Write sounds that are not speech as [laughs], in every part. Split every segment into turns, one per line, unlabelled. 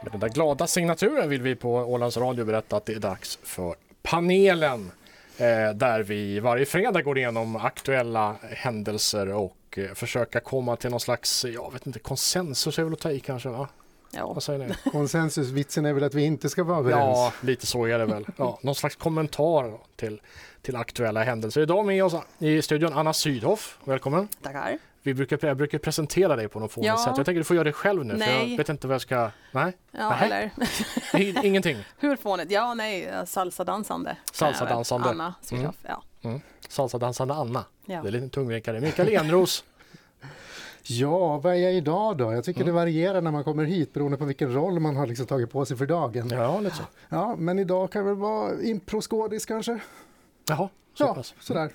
Den där glada signaturen vill vi på Ålands Radio berätta att det är dags för panelen. Eh, där vi varje fredag går igenom aktuella händelser och eh, försöka komma till någon slags, jag vet inte, konsensus är väl att ta i kanske va?
Ja.
Vad säger ni?
Konsensusvitsen är väl att vi inte ska vara överens.
Ja, lite så är det väl. Ja, någon slags kommentar till, till aktuella händelser. Idag med oss i studion Anna Sydhoff, välkommen.
Tackar.
Vi brukar, jag brukar presentera dig på något fånigt
Ja.
sätt. Jag tänker du får göra det själv nu, för jag
Nej.
vet inte vad jag ska... Nej,
Ja,
Nähä.
eller [laughs]
i- ingenting.
hur fånigt? Ja, nej, salsadansande.
Salsadansande.
Anna Sydhoff, ja.
Salsadansande Anna.
Ja.
Det är lite tungvrickare. Mikael Enros.
Ja, vad är jag idag då? Jag tycker
Mm.
det varierar när man kommer hit beroende på vilken roll man har liksom tagit på sig för dagen. Ja.
Ja, lite så.
men idag kan jag väl vara improskådis kanske?
Jaha, så
Ja,
pass.
sådär.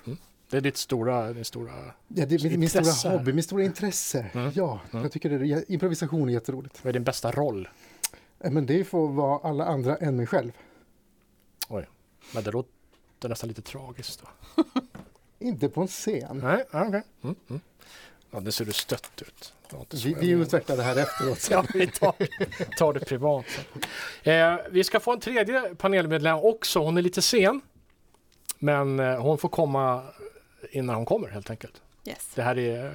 Det är ditt stora... Din stora
Ja, det är min, min
Intresse Mm.
stora
här.
hobby, min stora intresse. Ja, jag tycker det är, improvisation är jätteroligt.
vad är din bästa roll?
Eh, Men det får vara alla andra än mig själv.
Oj, men det låter nästan lite tragiskt. Då.
Inte på en scen.
Nej, ja, okej. Mm, mm. Ja, nu ser du stött ut. Det var inte så
Vi,
jag
vi
menade.
utvecklar det här efteråt.
[laughs]
sen.
Ja, vi tar, tar det privat. Eh, vi ska få en tredje panelmedlem också. Hon är lite sen, men eh, hon får komma innan hon kommer helt enkelt.
Yes.
Det här är... Eh,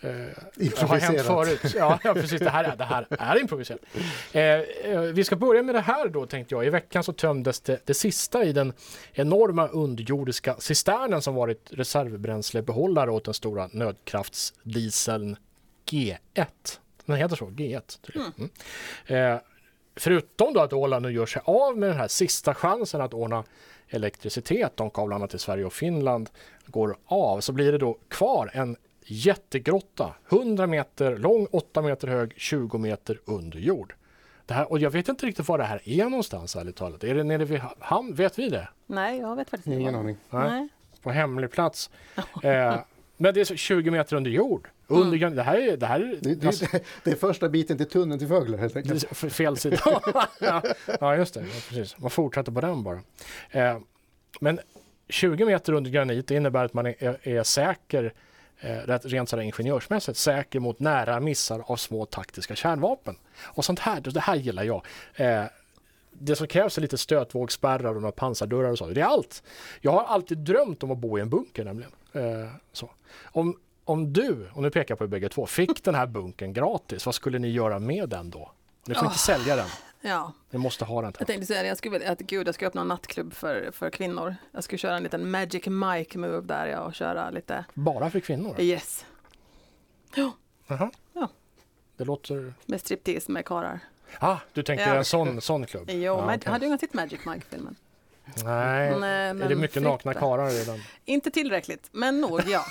det har hänt
Improviserat.
förut. Ja, ja precis. Det här är, det här är improviserat. Eh, eh, vi ska börja med det här då, tänkte jag. I veckan så tömdes det, det sista i den enorma underjordiska cisternen som varit reservbränslebehållare åt den stora nödkraftsdieseln G1. Den heter så, G1. tydligen. Mm. Eh, förutom då att Åland nu gör sig av med den här sista chansen att ordna elektricitet, de kablarna till Sverige och Finland går av, så blir det då kvar en jättegrotta, 100 meter lång, 8 meter hög, 20 meter under jord. Det här, och jag vet inte riktigt var det här är någonstans ärligt talat. Är det nere vid hamn? Vet vi det?
Nej, jag vet faktiskt inte.
Ingen
vad-
aning.
Nej.
På hemlig plats. Eh, men det är så 20 meter under jord. Under, Det här är... Det här är
Det,
alltså-
det, det är första biten till tunneln till Vöglö helt enkelt.
F- Fel sida. ja. ja, just det. Ja, precis. Man fortsätter på den bara. Eh, men 20 meter under granit det innebär att man är, är säker, eh, rätt- rent sådär ingenjörsmässigt, säker mot nära missar av små taktiska kärnvapen. Och sånt här, det här gillar jag. Eh, det som krävs är lite stötvågsspärrar och några pansardörrar och så. Det är allt. Jag har alltid drömt om att bo i en bunker nämligen. Eh, så. Om, om du, och nu pekar jag på er bägge två, fick den här bunkern gratis, vad skulle ni göra med den då? Ni får inte sälja den,
Ja,
ni måste ha den.
jag
Till.
tänkte säga det. Jag skulle vilja, att gud, jag skulle öppna en nattklubb för, för kvinnor. Jag skulle köra en liten magic mic move där jag och köra lite.
Bara för kvinnor?
Yes,
Jaha.
Ja.
Det låter...
med striptease med karlar.
Ah, du tänkte
Ja.
en sån, sån klubb?
Jo,
Ja,
men
okej.
hade du inte sett Magic Mike-filmen?
Nej.
men
är det mycket
fritt
nakna
där.
karlar redan?
Inte tillräckligt, men nog ja.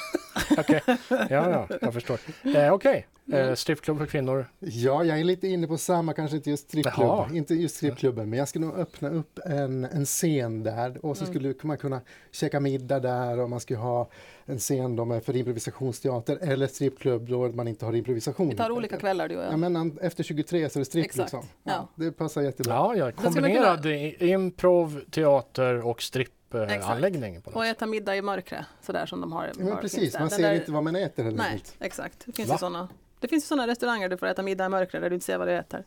Okej, ja, ja, jag förstår. Eh, Okej,
Mm.
eh, strippklubb för kvinnor.
Ja, jag är lite inne på samma, kanske inte just
Jaha.
strippklubben, inte just strippklubben, men jag skulle nog öppna upp en, en scen där och så
Mm.
skulle man kunna käka middag där och man skulle ha en scen då med för improvisationsteater eller strippklubb då man inte har improvisation.
Vi tar olika kvällar du och
Ja,
jag.
men an- efter 23 så är det stripp
Exakt,
liksom.
ja.
Det passar jättebra.
Ja, ja
skulle man kunna-
kombinerad i- improv, teater och
Exakt.
strippanläggning. på något
Och
sätt.
äta middag i mörkret, sådär som de har.
Ja, men
har- finns
precis,
där.
man
Den
ser
där-
inte vad man äter heller.
Nej,
enkelt.
exakt. Det finns
Va?
ju sådana. Det finns ju sådana restauranger där du får äta middag i mörkret där du inte ser vad du äter.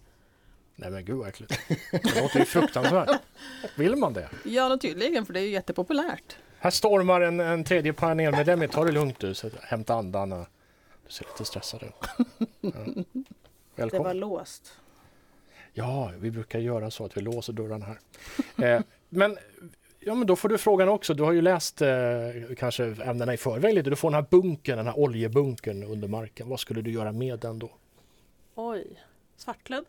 Nej men gud vad äckligt. Det låter ju fruktansvärt.
[laughs]
Vill man det?
Ja, då tydligen, för det är ju jättepopulärt.
Här stormar en, en tredje panelmedlem. Ta det lugnt du, så hämta andan. och- Du ser lite stressad ut. [laughs] Ja.
Det var
Välkommen.
låst.
Ja, vi brukar göra så att vi låser dörren här. Eh, men, ja, men då får du frågan också. Du har ju läst eh, kanske ämnena i förväg lite. Du får den här bunkern, den här oljebunkern under marken. Vad skulle du göra med den då?
Oj. Svartklubb?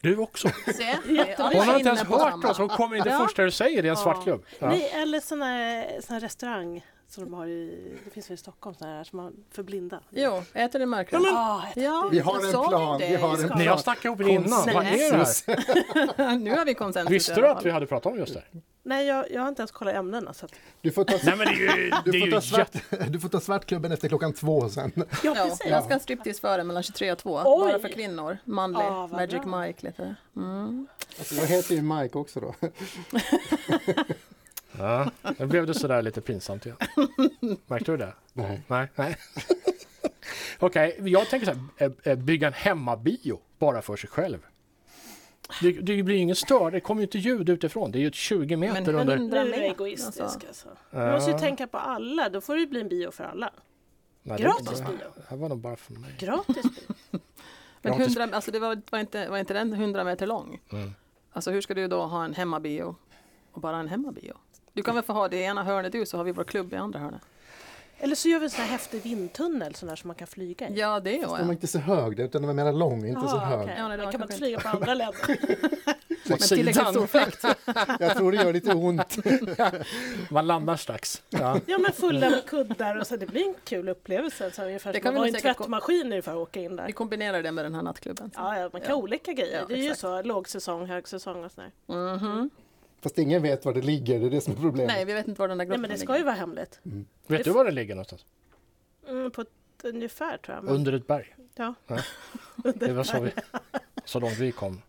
Du också?
Se,
Hon har inte ens hört oss. Hon kommer inte
Ja.
första du säger. Det är en
Ja.
svartklubb. Ja.
Nej, eller sån här, sån här restaurang som de har i, det finns väl i Stockholm, sån här som har för blinda.
Jo, äter i mörkret.
Ah, ett-
Ja,
Vi har
jag
en
sa ju
plan,
det.
vi har en
Ska-
Ni
plan.
har snackat ihop det innan. Vad är det här?
Konsensus.
nu har vi konsensus
Visste
i
du
alla
att vi
fall.
hade pratat om just det?
Nej, jag, jag har inte ens kollat ämnena. Så att,
Du får ta,
[laughs] Nej men det är ju, det
du
är
får
ju
ta, svart,
jätte...
[laughs] du får ta svartklubben efter klockan
[laughs]
två sen.
ja,
Ja,
precis.
jag ska ha striptease före mellan 23 och 2.
Oj.
Bara för kvinnor. Manlig.
Ah, vad
Magic
bra.
Mike lite.
Alltså, Jag heter ju Mike också då. [laughs]
Ja, nu blev det sådär lite pinsamt igen. Märkte du det?
Nej.
Nej. [laughs] Nej. Okej, jag tänker så här, eh, eh, bygga en hemmabio bara för sig själv. Det, det blir ju ingen stör, det kommer ju inte ljud utifrån. Det är ju ett 20 meter
Men
under.
hundra
Nu är du
med,
egoistisk
alltså.
alltså. Du måste ju
Ja.
tänka på alla, då får det ju bli en bio för alla.
Nej, det-
Gratis
det-
bio!
Det här var nog bara för mig.
Gratis bio!
Men
Jag har inte
100, alltså det var, var, inte, var inte den 100 meter lång?
Mm.
Alltså hur ska du då ha en hemmabio och bara en hemmabio? Du kan väl få ha det i ena hörnet du så har vi vår klubb i andra hörnet.
Eller så gör vi en sån här häftig vindtunnel sån här som man kan flyga i.
Ja, det är
Den var
jag.
inte så hög, utan den var mer lång, inte så
Ah,
hög.
okej.
Ja, nej, det var
Den kan man inte
kanske
flyga på andra länder.
Men tillräckligt stor fläkt.
[laughs]
Jag tror det gör lite ont.
Man landar strax. Ja.
Ja men fulla med kuddar och så, det blir en kul upplevelse. Så ungefär
Det
som
kan
att
vi
vara i en
säkert-
tvättmaskin ungefär och åka in
Vi
där.
kombinerar det med den här nattklubben.
Ja, ja man kan
Ja.
ha olika grejer.
Ja,
det är ju
exakt.
så, lågsäsong, högsäsong och sådär.
Mhm.
Fast ingen vet var det ligger, det är det som är problemet.
Nej, vi vet inte var den där
Nej
gruppen
men det ska ju vara hemligt.
Vet du var den ligger någonstans?
Mm, på ett ungefär tror jag. men-
Under ett berg.
Ja.
Ja. Det var så, vi, [laughs] så långt vi kom.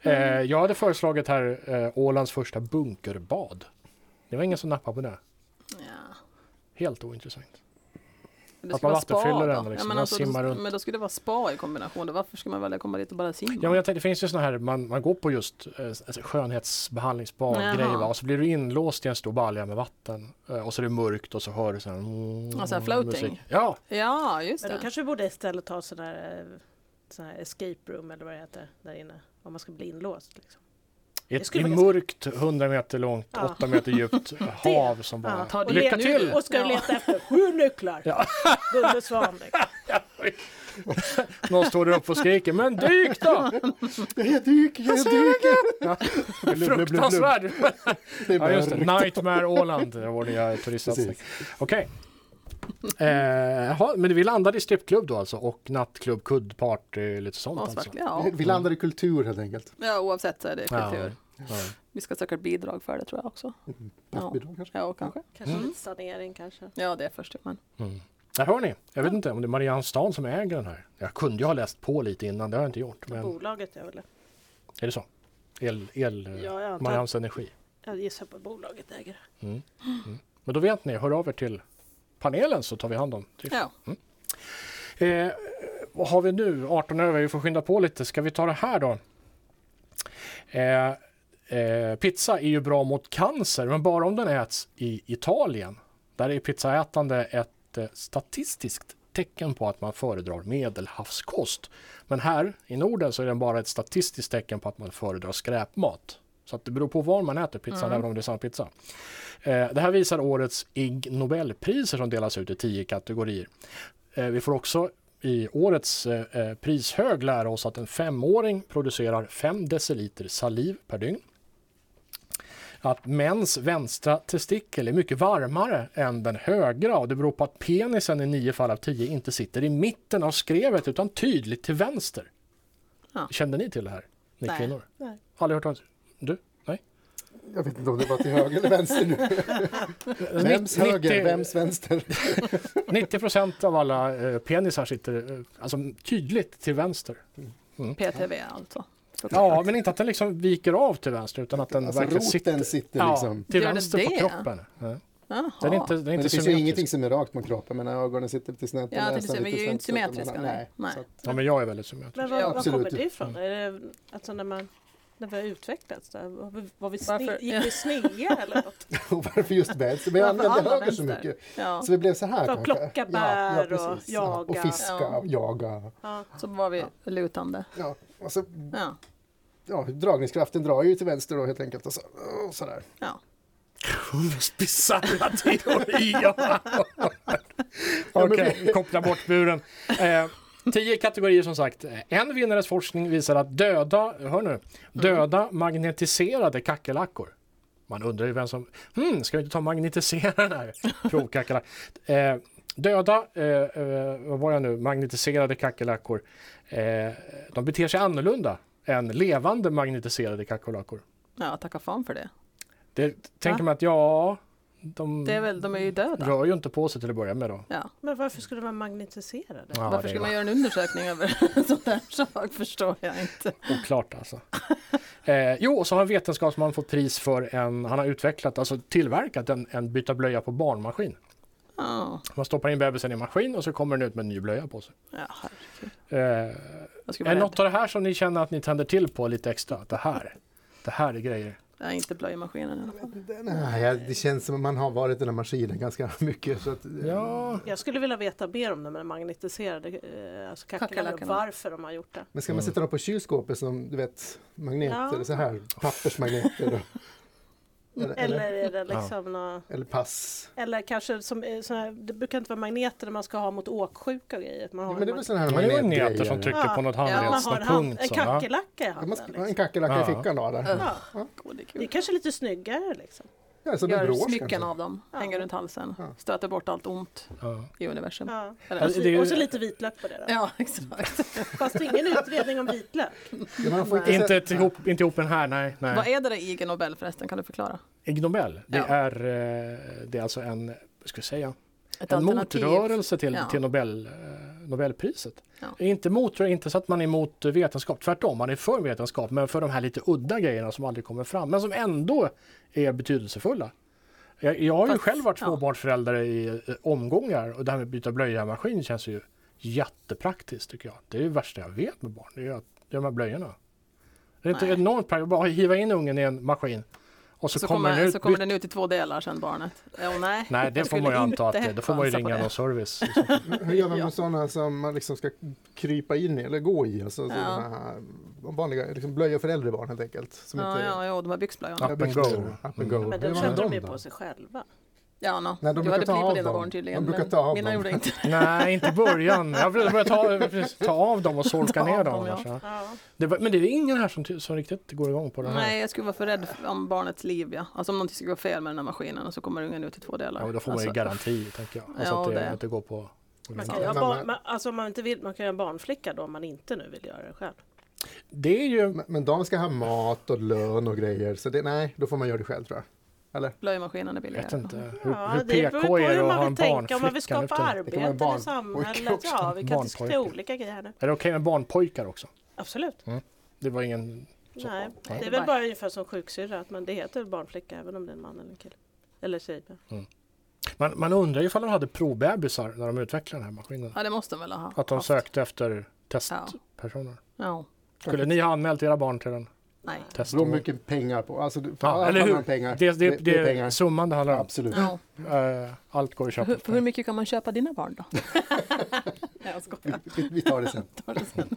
Eh, jag hade föreslagit här eh, Ålands första bunkerbad. Det var ingen som nappade på det.
Ja.
Helt ointressant.
Men Det
Att
skulle
man
vara spa
vattenfyller
då.
den, liksom.
ja, men,
Man
alltså,
simmar
då,
runt.
men då skulle det vara spa i kombination. Då. Varför ska man välja att komma dit och bara simma?
Ja, men jag tänkte, det finns ju såna här, man, man går på just eh, alltså,
Jaha.
skönhetsbehandlingsbad-grejer va? och så blir du inlåst i en stor balja med vatten. Eh, och så är det mörkt och så hör du så här... Mm,
Ja, så här floating.
musik. Ja,
ja just
Men då
det.
kanske vi borde istället ta sån där, eh, sån här escape room eller vad det heter där inne. Om man ska bli inlåst. Liksom.
i
Det
ett
skulle
i
vara ganska-
mörkt, 100 meter långt,
Ja.
8 meter
[laughs]
djupt hav som
Ja,
bara...
ta det
Lycka
nu.
till!
[laughs]
Och ska
Ja.
du leta efter liksom. sju nycklar!
Ja.
Gunde Svanbeck.
Någon står där uppe och skriker men dyk
[laughs]
då!
Jag dyker, jag
Alltså,
dyker! Blub, blub, blub, blub.
Fruktansvärd!
Det är
Ja, just det.
mörkt.
Nightmare Åland, det är vår nya turistsatsning.
Precis.
Okej. Eh, jaha, men vi landade i strippklubb då alltså och nattklubb, kuddparty, lite sånt
Måste
alltså.
verkligen, Ja.
Vi landar i kultur helt enkelt.
ja, oavsett så är det kultur.
Ja.
Vi ska söka bidrag för det tror jag också. Ja,
Bidrag kanske?
ja kanske.
Kanske lite sanering kanske.
Ja, det är först. Men.
Mm. Där hör ni, jag vet inte om det är Marianne Stan som äger den här. Jag kunde ju ha läst på lite innan, det har jag inte gjort. Men
Bolaget är väl
är det så? El, el, eh,
Ja, jag antar.
Mariannes Energi. Mm.
Jag gissar på att bolaget äger det.
Men då vet ni, hör av er till panelen så tar vi hand om driften.
Ja.
Eh, vad har vi nu? 18 över, vi får skynda på lite. Ska vi ta det här då? Eh, eh, pizza är ju bra mot cancer, men bara om den äts i Italien. Där är pizzaätande ett eh, statistiskt tecken på att man föredrar medelhavskost. Men här i Norden så är den bara ett statistiskt tecken på att man föredrar skräpmat. Så att det beror på var man äter pizzan,
Mm.
även om det är samma pizza. Eh, det här visar årets Ig Nobelpriser som delas ut i tio kategorier. Eh, Vi får också i årets eh, eh, prishög lära oss att en femåring producerar 5 deciliter saliv per dygn. Att mäns vänstra testikel är mycket varmare än den högra och det beror på att penisen i 9 fall av 10 inte sitter i mitten av skrevet utan tydligt till vänster.
Ja.
Kände ni till det här? Ni
Nej.
kvinnor?
Nej.
Aldrig hört talas Du? Nej?
Jag vet inte om det var till höger eller vänster nu. Vems höger, vems vänster?
90 procent av alla eh, penisar sitter eh, alltså, tydligt till vänster.
PTV alltså.
Ja, men inte att den liksom viker av till vänster utan att den
Alltså
verkligen
roten
sitter,
sitter, liksom.
ja, till
Gör den
vänster på
det?
kroppen. Ja.
Jaha.
Den är inte, den är
Men
inte
det finns ju
symmetrisk.
ingenting som är rakt mot kroppen, men ögonen sitter lite snett.
Ja, jag tänkte
näsan
säga, men
lite
vi är ju inte
snett, så att man-
symmetriska, nej.
Nej.
Nej.
Så att- [laughs]
Ja, men jag är väldigt symmetrisk.
Men var,
Ja,
var
absolut.
kommer det ifrån? Är det, alltså när, man, när vi har utvecklats? Där, var vi, var vi sne,
Varför?
gick
[laughs]
vi snea eller något?
Och varför just vänster? Men jag
Varför
använde
alla
höger så
vänster?
mycket.
Ja.
Så vi blev så här
För att plocka bär och
precis. Ja,
jaga.
Och fiska,
Ja.
och jaga.
Ja.
Så var vi lutande.
Ja, alltså- och så,
Ja.
ja, dragningskraften drar ju till vänster då helt enkelt. Och så, och så där.
ja.
Bisarra teorier! Okej, koppla bort buren. Eh, tio kategorier som sagt. En vinnares forskning visar att döda, hör nu, döda magnetiserade kackerlackor. Man undrar ju vem som, hmm, ska vi inte ta och magnetisera den här provkackerlackan? Eh, döda, eh, eh, vad var jag nu, magnetiserade kackerlackor, eh, de beter sig annorlunda än levande magnetiserade kackerlackor.
ja, tacka fan för det.
Det tänker man att ja, de
Det är väl, de är ju döda.
rör ju inte på sig till att börja med då.
Ja.
Men varför skulle de vara magnetiserade?
Ja,
Varför
det
ska
är
man göra en undersökning över [laughs] sånt där sak förstår jag inte.
Oklart alltså. Eh, jo, och så har en vetenskapsman fått pris för en, han har utvecklat, alltså tillverkat en, en byta blöja på barnmaskin.
Ja,
Man stoppar in bebisen i en maskin och så kommer den ut med en ny blöja på sig.
ja herregud.
Eh,
Jag skulle
är det
vara
något
rädd.
av det här som ni känner att ni tänder till på lite extra? Att Det här, det här är grejer.
Jag är inte blöjmaskinen i alla fall.
Nej, jag- det känns som att man har varit i den här maskinen ganska [laughs] mycket. Så att, eh,
Ja,
Jag skulle vilja veta mer om de här magnetiserade eh, alltså kackerlackorna.
Kackerlackorna.
Varför de har gjort det.
Men ska man sätta dem på kylskåpet som du vet, magneter
Ja.
så här, pappersmagneter? Och,
[laughs]
eller, eller,
Eller är det liksom nå-
eller pass?
Eller kanske som eh, såna här, det brukar inte vara magneter när man ska ha mot åksjuka och grejer. att Man har
Men det är
en
väl sådana här
det är magneter
magnetgrejer?
som trycker
Ja.
på något
mag-
Ja,
man har en, hand,
handledspunkt.
en
så, ja.
kackerlacka i
Ja, man
handen.
ska- en
Liksom.
kackerlacka
Ja.
i fickan då? Eller?
Ja.
Ja.
God, det är
Det är
kul.
kanske lite snyggare liksom.
Ja, som en
Gör
brås
smycken
kanske.
av dem,
Ja.
hänger runt halsen,
Ja.
stöter bort allt ont
Ja.
i universum.
Ja.
Eller-
Alltså, det är ju-
Och så lite vitlök på det då.
Ja, exakt.
Fast ingen utredning om vitlök.
Ja, man får
Inte,
sätta-
ett ihop, inte ihop den här, nej.
Alltså- Vad
nej.
är det där Ig Nobel förresten? Kan du förklara?
Ig Nobel, det,
Ja.
är, eh, det är alltså en, vad ska jag säga,
Ett
en motrörelse till,
Ja.
till Nobel, eh, Nobelpriset.
Ja.
Inte, mot, inte så att man är emot vetenskap, tvärtom, man är för vetenskap, men för de här lite udda grejerna som aldrig kommer fram, men som ändå är betydelsefulla. Jag, jag har ju
Fast-
själv varit
ja.
småbarnsförälder i eh, omgångar och det här med att byta blöja-maskin känns ju jättepraktiskt tycker jag. Det är det värsta jag vet med barn, det är ju att det är de här blöjorna. Det är inte
Nej.
enormt praktiskt, bara hiva in ungen i en maskin och så,
Så
kommer den ut
så kommer den ut i två delar sen barnet. Ja, och nej,
Nej,
[laughs]
det
jag
får
skulle
man ju anta att
inte
det. Då får man ju
chansa på
ringa
det.
någon service. liksom.
Hur gör man
Ja.
med sådana som man liksom ska krypa in i eller gå i? Alltså,
Ja.
sådana här vanliga liksom, blöjor för äldre barn helt enkelt. Som
Ja,
inte,
ja, ja, de här byxblöjorna.
Ja. Mm. Up and go.
Up and go.
Men
Hur
de
var
köpte de
de
ju
då?
på sig själva.
Ja, no.
Nej, de
du
brukar
hade
ta
pli på
av
dina
dem.
barn tydligen.
De brukar
men
ta av
mina
dem.
[laughs]
gjorde inte det.
Nej, inte i början. Jag vill börja ta, precis, ta av dem och solka
Ta
ner
av
dem.
dem, ja.
annars, ja.
Ja.
det var, men det är ingen här som, ty- som riktigt går igång på det här.
Nej, jag skulle vara för rädd om barnets liv. Ja. Alltså om någonting skulle gå fel med den här maskinen och så kommer ungen ut i två delar.
Ja, men då får man ju
alltså,
garanti, tänker jag. Alltså
Ja,
att det,
det.
Att det går på... på
Man
vinst.
kan, ju ha
Men-
barn, Liksom. man, alltså om man inte vill, man kan göra en barnflicka då om man inte nu vill göra det själv.
Det är ju...
Men, men de ska ha mat och lön och grejer. Så det, nej, då får man göra det själv tror jag. Eller?
Blöjmaskinen är
Jag
billigare.
vet inte hur,
Ja,
hur
beror på
PK är det
hur
att
man
ha
vill
en
tänka, om man vill
barnflicka nu
skapa
för tiden?
Det kan vara en
arbeten i
barn- pojke
samhället.
också.
Ja, vi kan
Barnpojke.
diskutera olika grejer här nu.
Är det okej med barnpojkar också?
Absolut.
Det var ingen... Så.
Nej,
Nej.
det är väl bara ungefär som sjuksyrra, att man, det heter barnflicka även om det är en man eller en kille. Eller tjej.
Man, man undrar ju ifall de hade provbebisar när de utvecklade den här maskinen.
Ja, det måste de väl ha
Att de
haft.
sökte efter
Ja.
testpersoner.
Ja.
Skulle ni ha anmält era barn till den?
Nej.
Det beror
Testen?
mycket pengar på. Alltså, du- för
Ja,
allt
eller
handlar
hur?
om Pengar.
Det, det, det,
det är
är
pengar.
summan det handlar om.
Absolut.
Ja.
Eh, allt går att köpa.
Hur, hur mycket kan man köpa dina barn
[laughs]
då? Nej, jag skojar.
Vi, vi tar det sen.
Ta det sen.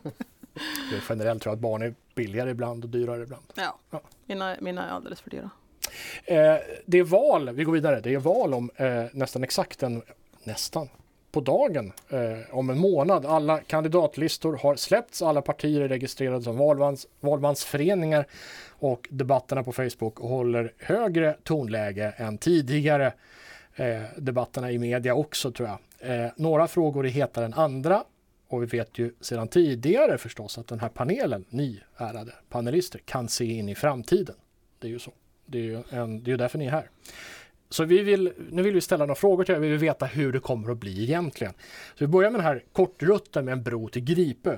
Det är Generellt tror jag att barn är billigare ibland och dyrare ibland.
Ja.
Ja.
Mina, mina är alldeles för dyra.
Eh, det är val, vi går vidare, det är val om eh, nästan exakt en, nästan, på dagen eh, om en månad. Alla kandidatlistor har släppts, alla partier är registrerade som valmans, valmansföreningar och debatterna på Facebook håller högre tonläge än tidigare eh, debatterna i media också tror jag. Eh, några frågor är hetare än andra och vi vet ju sedan tidigare förstås att den här panelen, ni ärade panelister, kan se in i framtiden. Det är ju så. Det är ju, en, det är ju därför ni är här. Så vi vill, nu vill vi ställa några frågor till er. Vi vill veta hur det kommer att bli egentligen. Så vi börjar med den här kortrutten med en bro till Gripö.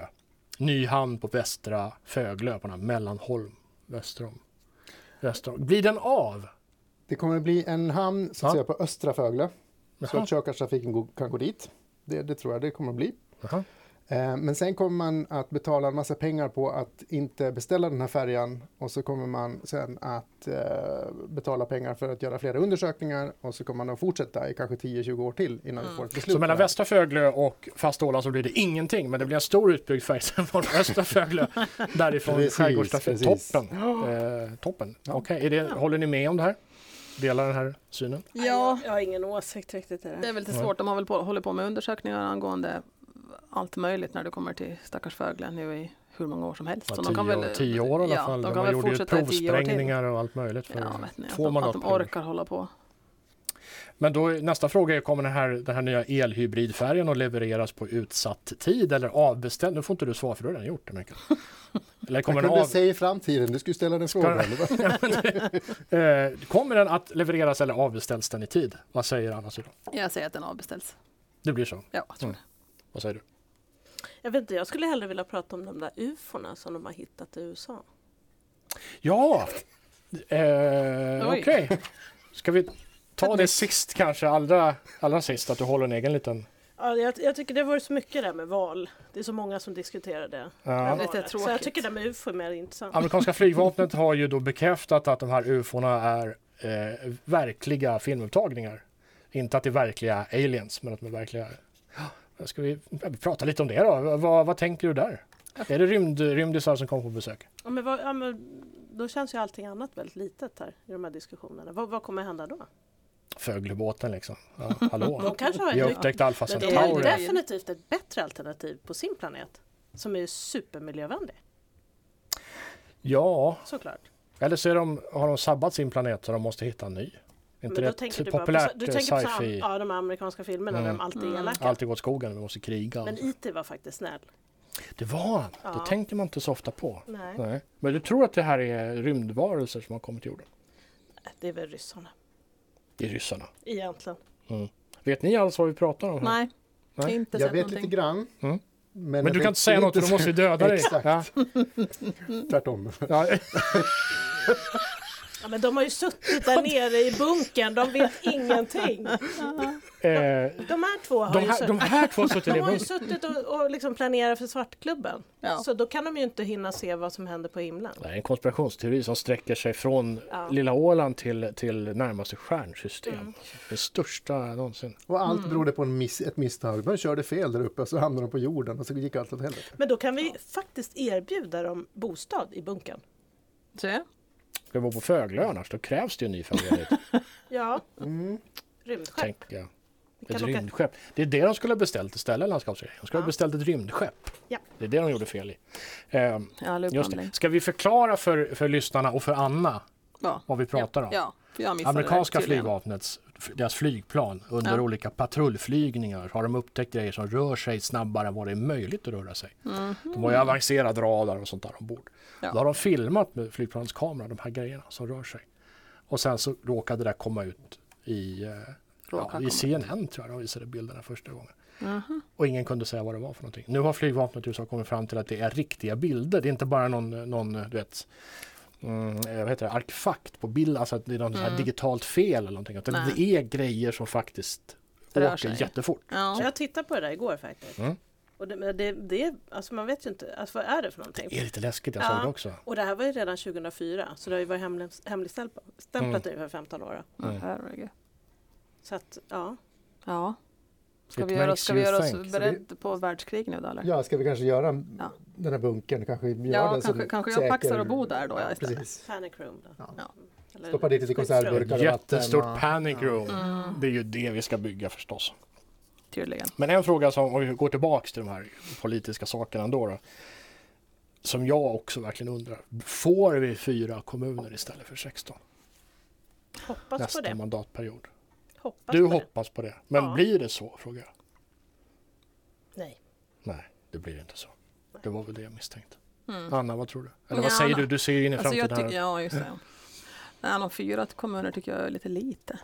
Nyhamn på västra Föglö, på den här Mellanholm, väster om. Väster om. Blir den av?
Det kommer att bli en hamn så
Ja.
att säga, på östra Fögle. Så
Jaha.
att körkartrafiken go- kan gå dit. Det, det tror jag det kommer att bli.
Jaha.
Eh, Men sen kommer man att betala en massa pengar på att inte beställa den här färjan och så kommer man sen att eh, betala pengar för att göra flera undersökningar och så kommer man att fortsätta i kanske 10-20 år till innan vi får ett beslut.
Så mellan
på det här.
västra Föglö och fasta Åland så blir det ingenting, men det blir en stor utbyggd färgsam från östra
[laughs]
Föglö därifrån
Precis,
skärgårdstrafik.
precis.
Toppen! Eh, toppen. Okej, är det, håller ni med om det här? Delar den här synen?
Ja,
Jag har ingen åsikt riktigt i det
det är
här.
väl lite svårt. De har väl på, håller på med undersökningar angående allt möjligt när du kommer till stackars Fögle nu i hur många år som helst.
Ja,
Så
tio,
de kan väl,
tio år i alla
ja,
fall.
De
De
kan
man
väl
gjorde ju
fortsätta i tio år till.
provsprängningar och allt möjligt. För
Ja, vet ni, att,
får
de,
man
att de
upp det?
orkar hålla på.
Men då, är- nästa fråga är, kommer den här, den här nya elhybridfärjan att levereras på utsatt tid eller avbeställd? Nu får inte du svara för du har redan gjort det
[laughs]
mycket. Eller kommer
Jag
den,
kunde
av, [laughs]
säga i framtiden, du skulle ställa den frågan.
den- eh, kommer den att levereras eller avbeställs den i tid? Vad säger Anna Sylvan?
Jag säger att den avbeställs.
Det blir så.
Ja, jag tror
Mm. Vad säger du?
Jag vet inte, jag skulle hellre vilja prata om de där ufona som de har hittat i USA.
Ja, eh, okej. Ska vi ta det sist kanske, allra, allra sist, att du håller en egen liten...
Ja, jag, jag tycker det var så mycket det här med val. Det är så många som diskuterar det.
Ja.
Lite
Valet. Så jag
tråkigt.
tycker det här med UFO är mer intressant.
Amerikanska flygvapnet har ju då bekräftat att de här ufona är eh, verkliga filmupptagningar. Inte att det är verkliga aliens, men att de är verkliga. Ja, Ska vi prata lite om det då? Vad- Vad, vad tänker du där? Är det rymd, rymdisar som kommer på besök?
Ja, men vad, ja, men då känns ju allting annat väldigt litet här i de här diskussionerna. Vad, vad kommer hända då?
Föglebåten liksom. Ja, hallå?
[laughs] De kanske har
Vi har
ett nytt...
upptäckt Alfa
Men det är
Centauri.
Centauri.
definitivt ett bättre alternativ på sin planet. Som är supermiljövänlig,
Ja,
såklart.
eller så är de, har de sabbat sin planet så de måste hitta en ny. Inte
Men då
rätt
tänker du bara på,
populärt
du
eh,
tänker på så här-
sci-fi. Mm.
ja, de här amerikanska filmerna där de alltid är elaka.
Allt går åt skogen, vi måste kriga.
Men IT var faktiskt snäll.
Det var han. Det
Ja.
tänker man inte så ofta på.
Nej,
Nej. Men du tror att det här är rymdvarelser som har kommit till jorden?
det är väl ryssarna
Det är ryssarna.
egentligen.
Vet ni alls vad vi pratar om? här?
Nej.
Nej.
Inte
Jag
sett
vet
någonting.
lite grann.
Mm.
Men,
Men
jag
du
vet
kan inte säga något för då måste vi döda dig.
Exakt.
Ja.
[laughs] Tvärtom.
Ja. eh,
Ja, men de har ju
[laughs]
suttit där nere i bunkern, de vet ingenting.
Eh,
De här två har
De
ju
här,
suttit-
de här två sitter i
De har ju
bunkern.
suttit och, och liksom planerat för Svartklubben.
Ja.
Så då kan de ju inte hinna se vad som händer på himlen.
Det här är en konspirationsteori som sträcker sig från
Ja.
lilla Åland till, till närmaste stjärnsystem.
Mm.
Det största någonsin.
Och allt berodde på en miss, ett misstag. De körde fel där uppe så hamnade de på jorden och så gick allt åt helvete.
Men då kan vi faktiskt erbjuda dem bostad i bunkern.
Se.
Ska vi vara på Föglö annars, då krävs det ju en ny
[laughs]
familj.
Ja,
Mm.
rymdskepp.
tänker jag.
Vi
Ett
kan åka-
rymdskepp. Det är det de skulle ha beställt istället, landskapsregeringen. De skulle ha
Ja.
beställt ett rymdskepp.
Ja.
Det är det de gjorde fel i. Ehm,
Ja,
Just
Lupin
det.
blir.
Ska vi förklara för, för lyssnarna och för Anna
Ja.
vad vi pratar om?
Ja, för jag missade
Amerikanska
det tydligen.
flygvapnets, f- deras flygplan under
Ja.
olika patrullflygningar har de upptäckt grejer som rör sig snabbare än vad det är möjligt att röra sig. De har ju avancerad radar och sånt där ombord.
Mhm. Ja.
Då har de filmat med flygplanets kamera de här grejerna som rör sig. Och sen så råkade det där komma ut i, eh, ja,
komma
i
ut.
CNN tror jag de visade bilderna första gången. Och ingen kunde säga vad det var för någonting. Nu har flygvapnet i USA kommit fram till att det är riktiga bilder. Det är inte bara någon, någon eh, du vet, mm, eh, vad heter det, artefakt på bild, alltså att det är något så här digitalt fel eller någonting. Utan
Mm. Nej.
det är grejer som faktiskt
Rör
åker
sig.
jättefort.
Ja.
Jag tittade på det där igår faktiskt.
Mm.
Och det, men det, det, alltså man vet ju inte, alltså vad är det för någonting?
Typ.
Det är lite läskigt, jag
Ja.
såg det också.
Och det här var ju redan 2004, så det har ju varit hemlig- hemligstämplat mm. ungefär 15 år.
Mm.
Herregud.
Så att, ja.
Ja. Ska
It
vi, göra,
makes
ska vi
you
göra oss
think.
beredda på världskrig nu då eller?
Ja, ska vi kanske göra
Ja.
den här bunkern? Kanske göra
Ja,
den som
kanske- kanske jag paxar och bor där då, ja, istället.
Precis.
Panic room då.
Ja.
Ja.
Eller-
Stoppa dit lite konservburkar och vatten.
Jättestort
och-
panic room.
Mm,
Det är ju det vi ska bygga förstås.
tydligen.
Men en fråga som, om vi går tillbaks till de här politiska sakerna ändå då, som jag också verkligen undrar. Får vi fyra kommuner istället för 16
Hoppas
nästa
på det.
mandatperiod?
Hoppas
Du
på det.
hoppas på det, men
Ja.
blir det så? frågar jag.
Nej.
Nej, det blir inte så. Det var väl det jag misstänkte.
Mm.
Anna, vad tror du? Eller vad
Ja,
säger
Anna.
du? Du ser ju in i
Alltså
framtiden
jag tycker,
här.
ja just det. Nej, de fyra kommuner tycker jag är lite lite.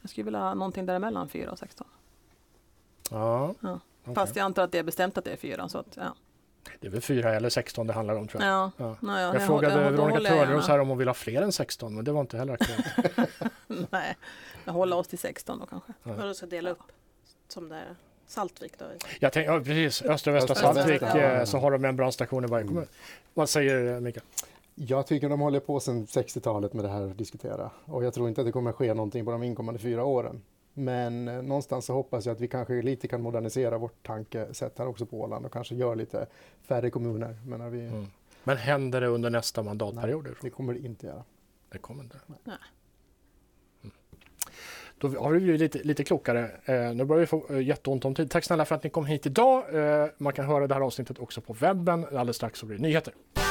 Jag skulle vilja ha någonting däremellan 4 och 16.
Ja,
Ja.
okej.
Fast jag antar att det är bestämt att det är fyra. Så att, ja.
Det är väl fyra eller 16 det handlar om tror jag.
Ja.
Ja.
Nej, ja,
Jag
det-
frågade
det- då
Veronica
håller jag
Törnros
gärna.
här om hon vill ha fler än 16, men det var inte heller
[laughs]
aktuellt.
Mm, Nej, jag håller oss till 16 då kanske.
Ja.
Vad du ska dela upp. Som det är Saltvik då.
Jag tänkte, ja, precis, Östra och Västra
Östra och
Sandvik
Västra,
eh,
ja.
så har de en brandstation i varje
Mm.
kommun. Vad säger eh, Mikael?
Jag tycker de håller på sedan 60-talet med det här att diskutera. Och jag tror inte att det kommer ske någonting på de inkommande fyra åren. Men eh, någonstans så hoppas jag att vi kanske lite kan modernisera vårt tankesätt här också på Åland och kanske göra lite färre kommuner. Men när vi,
Mm. Men händer det under nästa mandatperiod? Det
det
tror jag.
kommer det inte göra.
Det kommer inte.
Nej.
Mm. Då har vi blivit lite, lite klokare. Eh, nu börjar vi få eh, jätteont om tid. Tack snälla för att ni kom hit idag. Eh, man kan höra det här avsnittet också på webben. Alldeles strax så blir det nyheter.